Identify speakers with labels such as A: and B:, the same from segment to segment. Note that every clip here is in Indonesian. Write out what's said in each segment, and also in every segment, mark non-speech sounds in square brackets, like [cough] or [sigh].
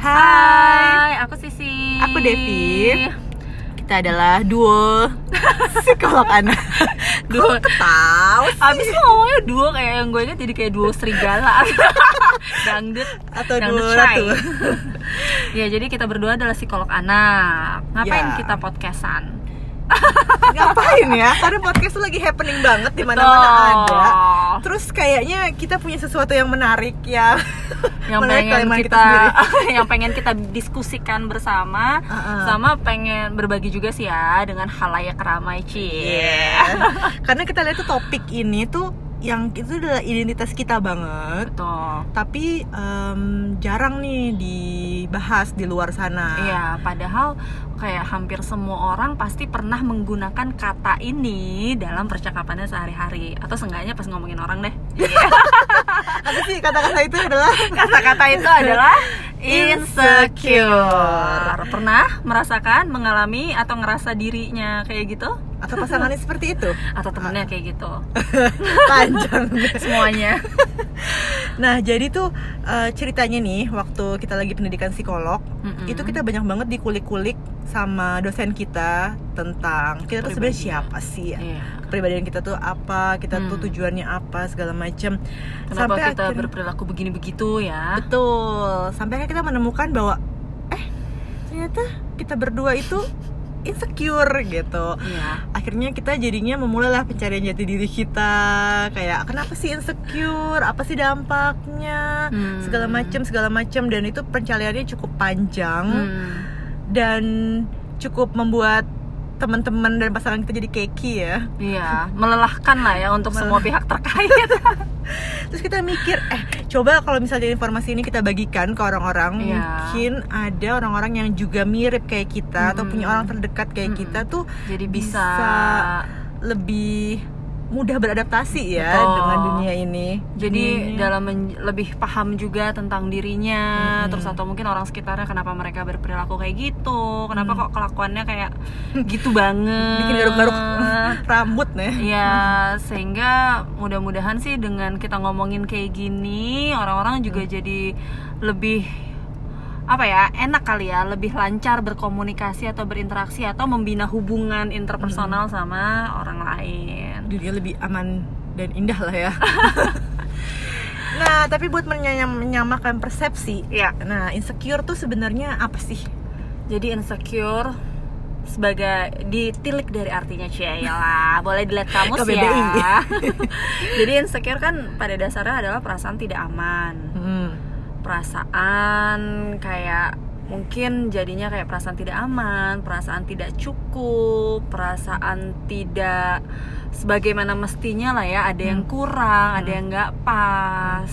A: Hai,
B: Hai, aku Sisi.
A: Aku
B: [laughs]
A: Devi. kita adalah [laughs] duo psikolog anak.
B: Duo.
A: Tahu
B: Abis lu ngomongnya duo kayak yang gue ingat jadi kayak duo
A: [laughs]
B: serigala. Dangdut
A: atau
B: dangdut
A: duo
B: shy.
A: ratu.
B: [laughs] Ya, jadi kita berdua adalah psikolog anak.
A: Ya.
B: Ngapain kita podcastan?
A: Ngapain ya? Karena podcast tuh lagi happening banget di mana-mana
B: Betul.
A: ada. Terus kayaknya kita punya sesuatu yang menarik ya.
B: yang
A: menarik
B: pengen
A: teman
B: kita,
A: sendiri.
B: [laughs] yang pengen kita diskusikan bersama
A: Uh-uh.
B: sama pengen berbagi juga sih ya dengan halayak ramai cie
A: Iya. [laughs] Karena kita lihat tuh topik ini tuh yang itu adalah identitas kita banget.
B: betul
A: Tapi em, jarang nih dibahas di luar sana.
B: Iya, padahal kayak hampir semua orang pasti pernah menggunakan kata ini dalam percakapannya sehari-hari atau seenggaknya pas ngomongin orang deh. [laughs]
A: Apa sih kata-kata itu adalah
B: Kata-kata itu adalah insecure. Pernah merasakan, mengalami atau ngerasa dirinya kayak gitu
A: atau pasangannya seperti [laughs] itu?
B: atau temennya kayak
A: [laughs]
B: gitu.
A: Panjang.
B: Semuanya.
A: Nah, jadi tuh eh, ceritanya nih waktu kita lagi pendidikan psikolog,
B: Mm-mm.
A: [laughs] itu kita banyak banget dikulik-kulik sama dosen kita tentang kita tuh sebenarnya
B: Kepribadian.
A: siapa sih ya?
B: Iya.
A: Kepribadian kita tuh apa, kita tuh
B: Hmm.
A: tujuannya apa, segala macam.
B: Kenapa
A: Sampai
B: kita
A: akhirnya-
B: berperilaku begini begitu ya?
A: Betul. Sampai akhirnya kita menemukan bahwa eh ternyata kita berdua itu insecure gitu.
B: Iya.
A: Akhirnya kita jadinya memulailah pencarian jati diri kita. Kayak kenapa sih insecure? Apa sih dampaknya?
B: Hmm.
A: Segala macam, segala macam dan itu pencariannya cukup panjang
B: Hmm.
A: dan cukup membuat teman-teman dan pasangan kita jadi keki ya.
B: Iya, melelahkan lah ya untuk semua pihak terkait.
A: Terus kita mikir, eh coba kalau misalnya informasi ini kita bagikan ke orang-orang,
B: Iya.
A: mungkin ada orang-orang yang juga mirip kayak kita atau
B: Mm-mm.
A: punya orang terdekat kayak
B: Mm-mm.
A: kita tuh
B: Jadi bisa,
A: Bisa. lebih mudah beradaptasi ya
B: Betul.
A: dengan dunia ini.
B: jadi
A: Dunia.
B: dalam men- lebih paham juga tentang dirinya,
A: Mm-mm.
B: terus atau mungkin orang sekitarnya kenapa mereka berperilaku kayak gitu,
A: Mm.
B: kenapa kok kelakuannya kayak gitu banget.
A: bikin
B: [laughs]
A: garuk-garuk rambut nih.
B: Iya, sehingga mudah-mudahan sih dengan kita ngomongin kayak gini, orang-orang
A: Mm.
B: juga jadi lebih apa ya enak kali ya lebih lancar berkomunikasi atau berinteraksi atau membina hubungan
A: Mm.
B: interpersonal sama orang lain.
A: dunia lebih aman dan indah lah ya. [laughs] nah, tapi buat menyam- menyamakan persepsi.
B: Iya.
A: Nah, insecure tuh sebenarnya apa sih?
B: Jadi insecure sebagai ditilik dari artinya cie ya lah [laughs] boleh dilihat kamus
A: Ke BBI.
B: ya [laughs] jadi insecure kan pada dasarnya adalah perasaan tidak aman
A: Hmm.
B: perasaan kayak mungkin jadinya kayak perasaan tidak aman, perasaan tidak cukup, perasaan tidak sebagaimana mestinya lah ya, ada yang kurang, ada yang nggak pas.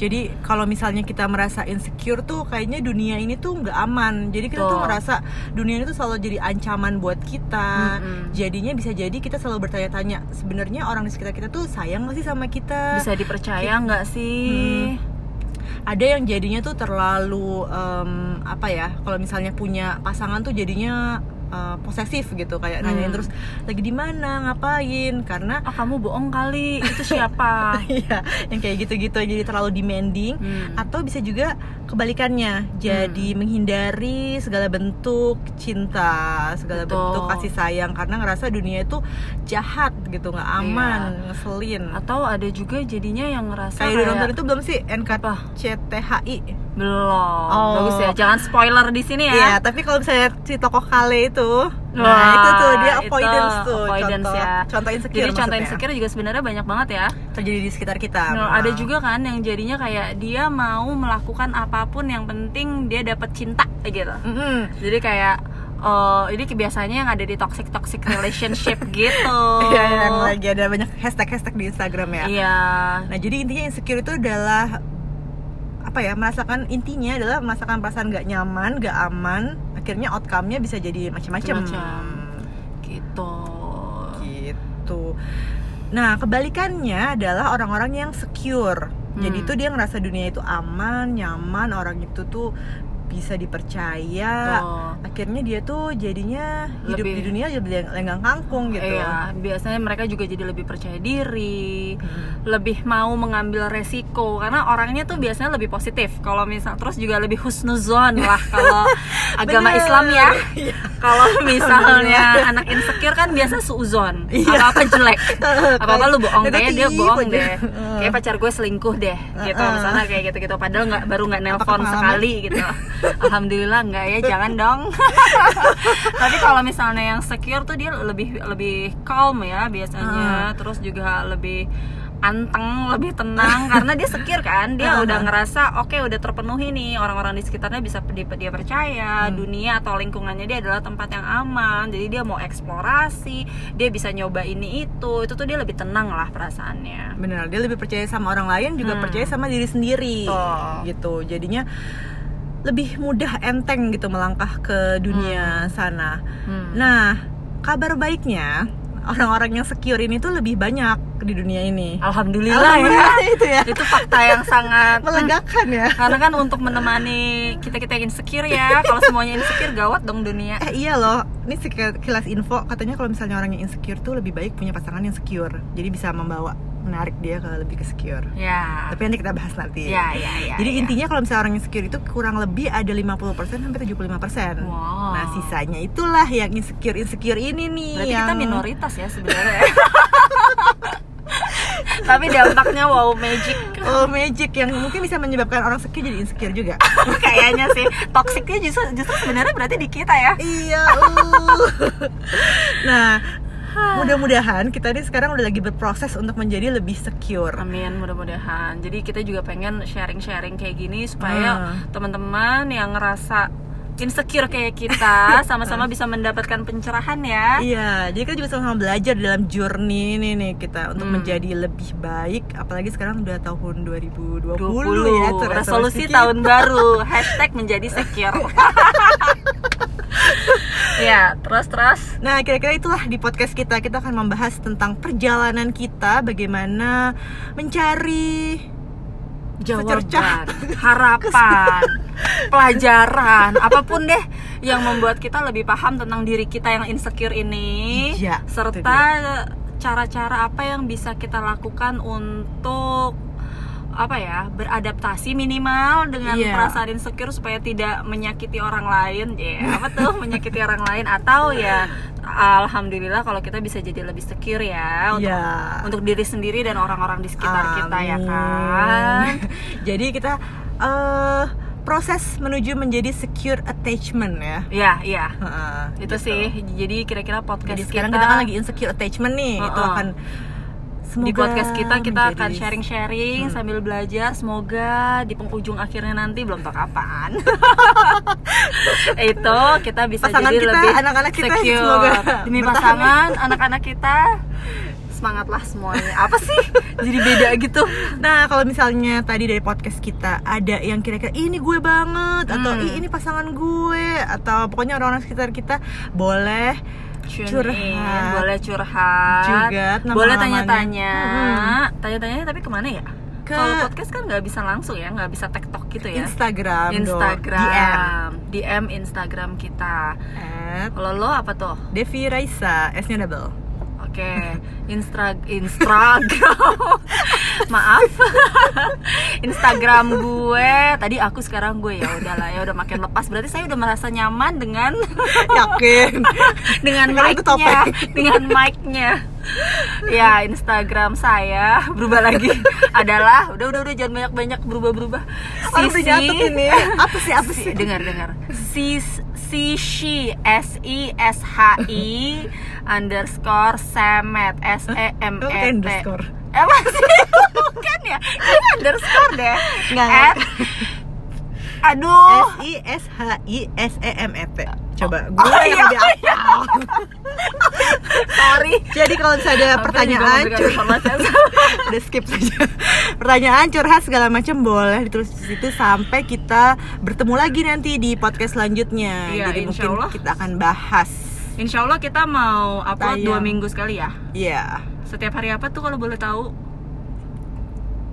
A: Jadi kalau misalnya kita merasa insecure tuh kayaknya dunia ini tuh nggak aman. Jadi kita tuh
B: Betul.
A: merasa dunia ini tuh selalu jadi ancaman buat kita.
B: Mm-mm.
A: Jadinya bisa jadi kita selalu bertanya-tanya sebenarnya orang di sekitar kita tuh sayang gak sih sama kita?
B: Bisa dipercaya nggak sih?
A: Ada yang jadinya tuh terlalu em, apa ya? Kalau misalnya punya pasangan tuh jadinya eh, posesif gitu kayak nanyain
B: Hmm.
A: terus lagi di mana, ngapain karena [laughs]
B: Ah kamu bohong kali, itu [laughs] siapa?
A: Iya, yang kayak gitu-gitu jadi terlalu demanding
B: Hmm.
A: atau bisa juga kebalikannya jadi menghindari segala bentuk cinta segala
B: Betul.
A: bentuk kasih sayang karena ngerasa dunia itu jahat gitu nggak aman ngeselin
B: Iya. Atau ada juga jadinya yang ngerasa
A: kayak udah
B: kayak,
A: nonton itu belum sih
B: Apa?
A: NKCTHI
B: belum.
A: Oh.
B: Bagus ya, jangan spoiler di sini ya.
A: Iya, tapi kalau misalnya si tokoh Kale itu nah
B: Wah,
A: itu tuh dia
B: itu
A: avoidance tuh
B: avoidance
A: contoh
B: ya.
A: contoh insecure
B: Jadi contoh
A: maksudnya. Iya,
B: insecure juga sebenarnya banyak banget ya.
A: terjadi di sekitar kita
B: Nah,
A: memang.
B: ada juga kan yang jadinya kayak dia mau melakukan apapun yang penting dia dapat cinta gitu.
A: Mm-mm.
B: Jadi kayak eh ini kebiasaannya yang ada di toxic toxic
A: [laughs]
B: relationship gitu.
A: Iya, yang lagi ada banyak hashtag-hashtag di Instagram ya.
B: Iya.
A: Nah, jadi intinya insecure itu adalah apa ya? Merasakan intinya adalah merasakan perasaan gak nyaman, gak aman. Akhirnya outcome-nya bisa jadi macam-macam.
B: Macam-macam. Gitu.
A: Gitu. Nah, kebalikannya adalah orang-orang yang secure. Jadi
B: Hmm.
A: itu dia ngerasa dunia itu aman, nyaman, orang itu tuh bisa dipercaya gitu.
B: Betul.
A: akhirnya dia tuh jadinya hidup
B: Lebih-
A: di dunia jadi lenggang kangkung gitu [laughs]
B: Iya, biasanya mereka juga jadi lebih percaya diri,
A: Hmm.
B: lebih mau mengambil resiko karena orangnya tuh biasanya lebih positif. Kalau misal terus juga lebih husnuzon lah
A: [laughs]
B: kalau agama
A: Bener.
B: Islam ya.
A: Iya.
B: Kalau misalnya anak insecure kan biasa suuzon,
A: Iya.
B: apa-apa jelek. Apa-apa lu bohong
A: Negatif
B: kayaknya dia bohong
A: aja.
B: deh.
A: [laughs] Heeh.
B: Kayak pacar gue selingkuh deh gitu.
A: Heeh.
B: Misalnya kayak gitu-gitu padahal nggak baru nggak nelpon
A: pengalaman?
B: sekali gitu. Alhamdulillah nggak ya, jangan dong. [laughs] tapi kalau misalnya yang secure tuh dia lebih lebih calm ya biasanya terus juga lebih anteng lebih tenang
A: [laughs]
B: karena dia secure kan dia
A: Ah.
B: udah ngerasa oke udah terpenuhi nih orang-orang di sekitarnya bisa di- dia percaya
A: Hmm.
B: dunia atau lingkungannya dia adalah tempat yang aman jadi dia mau eksplorasi dia bisa nyoba ini itu itu tuh dia lebih tenang lah perasaannya
A: bener dia lebih percaya sama orang lain juga
B: Hmm.
A: percaya sama diri sendiri
B: Betul.
A: gitu jadinya lebih mudah enteng gitu melangkah ke dunia sana
B: Hmm.
A: nah kabar baiknya orang-orang yang secure ini tuh lebih banyak di dunia ini
B: alhamdulillah,
A: Alhamdulillah itu ya
B: [laughs] ya itu fakta yang
A: [laughs]
B: sangat
A: melegakan ya
B: [laughs] Karena kan untuk menemani kita-kita yang insecure ya, kalau semuanya insecure gawat dong dunia.
A: Eh iya loh, ini sekilas info katanya kalau misalnya orang yang insecure tuh lebih baik punya pasangan yang secure Jadi bisa membawa, menarik dia ke lebih ke secure
B: Ya.
A: Tapi nanti kita bahas nanti
B: Ya, ya, ya.
A: Jadi
B: ya.
A: intinya kalau misalnya orang yang secure itu kurang lebih ada 50% sampai 75%
B: Wow.
A: Nah sisanya itulah yang insecure-insecure ini nih
B: Berarti
A: yang...
B: kita minoritas ya sebenarnya. [laughs] ya. Tapi dampaknya wow magic
A: Oh magic yang mungkin bisa menyebabkan orang secure jadi insecure juga
B: kayaknya sih. Toksiknya justru justru sebenarnya berarti di kita ya.
A: Iya uh. [laughs] Nah mudah-mudahan kita nih sekarang udah lagi berproses untuk menjadi lebih secure
B: Amin, mudah-mudahan. Jadi kita juga pengen sharing-sharing kayak gini supaya
A: Hmm.
B: teman-teman yang ngerasa insecure kayak
A: [laughs]
B: kita sama-sama bisa mendapatkan pencerahan ya.
A: Iya, jadi kita juga sama-sama belajar dalam journey ini nih kita untuk
B: Hmm.
A: menjadi lebih baik. Apalagi sekarang udah tahun 2020
B: 20
A: ya,
B: ya,
A: tuh
B: resolusi
A: kita.
B: tahun
A: [laughs]
B: baru hashtag menjadi secure ya terus terus
A: Nah, kira-kira itulah di podcast kita kita akan membahas tentang perjalanan kita, bagaimana mencari
B: jawaban
A: [laughs]
B: harapan pelajaran apapun deh yang membuat kita lebih paham tentang diri kita yang insecure ini
A: Iya, itu
B: serta
A: dia.
B: cara-cara apa yang bisa kita lakukan untuk apa ya beradaptasi minimal dengan
A: Iya.
B: perasaan insecure supaya tidak menyakiti orang lain ya apa tuh
A: [laughs]
B: menyakiti orang lain atau ya alhamdulillah kalau kita bisa jadi lebih secure ya untuk
A: ya
B: untuk diri sendiri dan orang-orang di sekitar kita ya
A: Amin.
B: kan
A: [laughs] jadi kita eh proses menuju menjadi secure attachment ya.
B: ya ya
A: Heeh,
B: itu
A: gitu.
B: sih jadi kira-kira podcast
A: Jadi sekarang kita kan lagi insecure attachment nih, itu
B: Heeh.
A: akan
B: di
A: semoga
B: podcast kita kita akan
A: menjadi-
B: sharing-sharing
A: Hmm.
B: sambil belajar semoga di penghujung akhirnya nanti belum tau kapan
A: [laughs]
B: itu kita bisa
A: Pasangan
B: jadi
A: kita,
B: lebih
A: anak-anak kita,
B: secure
A: semoga
B: demi
A: bertahan.
B: pasangan anak-anak kita semangatlah semuanya apa sih jadi beda gitu
A: Nah, kalau misalnya tadi dari podcast kita ada yang kira-kira "Ih, ini gue banget atau
B: Hmm.
A: "Ih, ini pasangan gue atau pokoknya orang-orang sekitar kita boleh
B: Tune
A: Curhat.
B: in, boleh curhat
A: Juga, nama
B: boleh
A: alamannya.
B: tanya-tanya
A: Mm-mm.
B: tanya-tanya tapi kemana ya
A: Ke-
B: kalau podcast kan nggak bisa langsung ya nggak bisa tiktok gitu ya
A: Instagram, dong. DM
B: Instagram DM Instagram kita
A: At
B: kalau lo apa tuh
A: Devi Raisa, S-nya double.
B: oke Instra Instagram [laughs] maaf [laughs] Instagram gue tadi aku sekarang gue ya udahlah ya udah makin lepas berarti saya udah merasa nyaman
A: [laughs]
B: dengan
A: [laughs] Yakin.
B: dengan
A: Sekarang itu
B: mic-nya
A: topeng.
B: [laughs] dengan mic-nya ya Instagram saya berubah
A: [laughs]
B: lagi adalah udah udah udah jangan banyak banyak berubah berubah
A: Orang udah nyatet ini. Apa sih? Apa sih?
B: si, Iya, dengar
A: [laughs]
B: dengar si si she s i s h
A: [laughs]
B: i underscore semet s e m
A: Emang
B: e
A: kayak
B: t
A: underscore.
B: apa sih [laughs] bukan ya ini underscore deh
A: Nggak,
B: At- aduh
A: S E I S H I S E M E T. Coba gue
B: Oh, iya,
A: yang lebih hafal.
B: sorry
A: Jadi kalau misalnya ada
B: Hampir
A: pertanyaan,
B: juga memberikan
A: cur-
B: informasi yang salah.
A: [laughs] udah skip saja. Pertanyaan curhat segala macam boleh ditulis di situ sampai kita bertemu lagi nanti di podcast selanjutnya.
B: Iya,
A: Jadi
B: insya
A: mungkin
B: Allah.
A: kita akan bahas.
B: Insya Allah kita mau upload
A: Tayang.
B: dua minggu sekali ya.
A: Iya.
B: Setiap hari apa tuh kalau boleh tahu?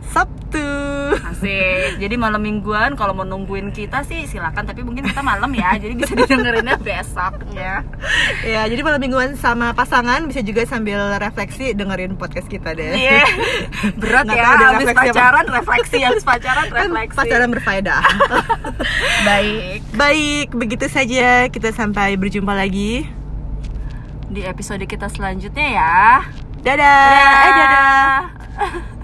A: Sabtu.
B: Asik. Jadi malam mingguan kalau mau nungguin kita sih silakan tapi mungkin kita malam ya. Jadi bisa [laughs] didengerinnya besok ya.
A: ya, jadi malam mingguan sama pasangan bisa juga sambil refleksi dengerin podcast kita deh.
B: Iya. Berat
A: Nggak
B: ya
A: tahu ada
B: habis
A: refleksi apa.
B: pacaran refleksi, habis pacaran
A: [laughs] Kan
B: refleksi.
A: pacaran
B: [laughs]
A: berfaedah.
B: baik.
A: Baik, begitu saja kita sampai berjumpa lagi.
B: Di episode kita selanjutnya ya.
A: Dadah. Eh, dadah.
B: Dadah.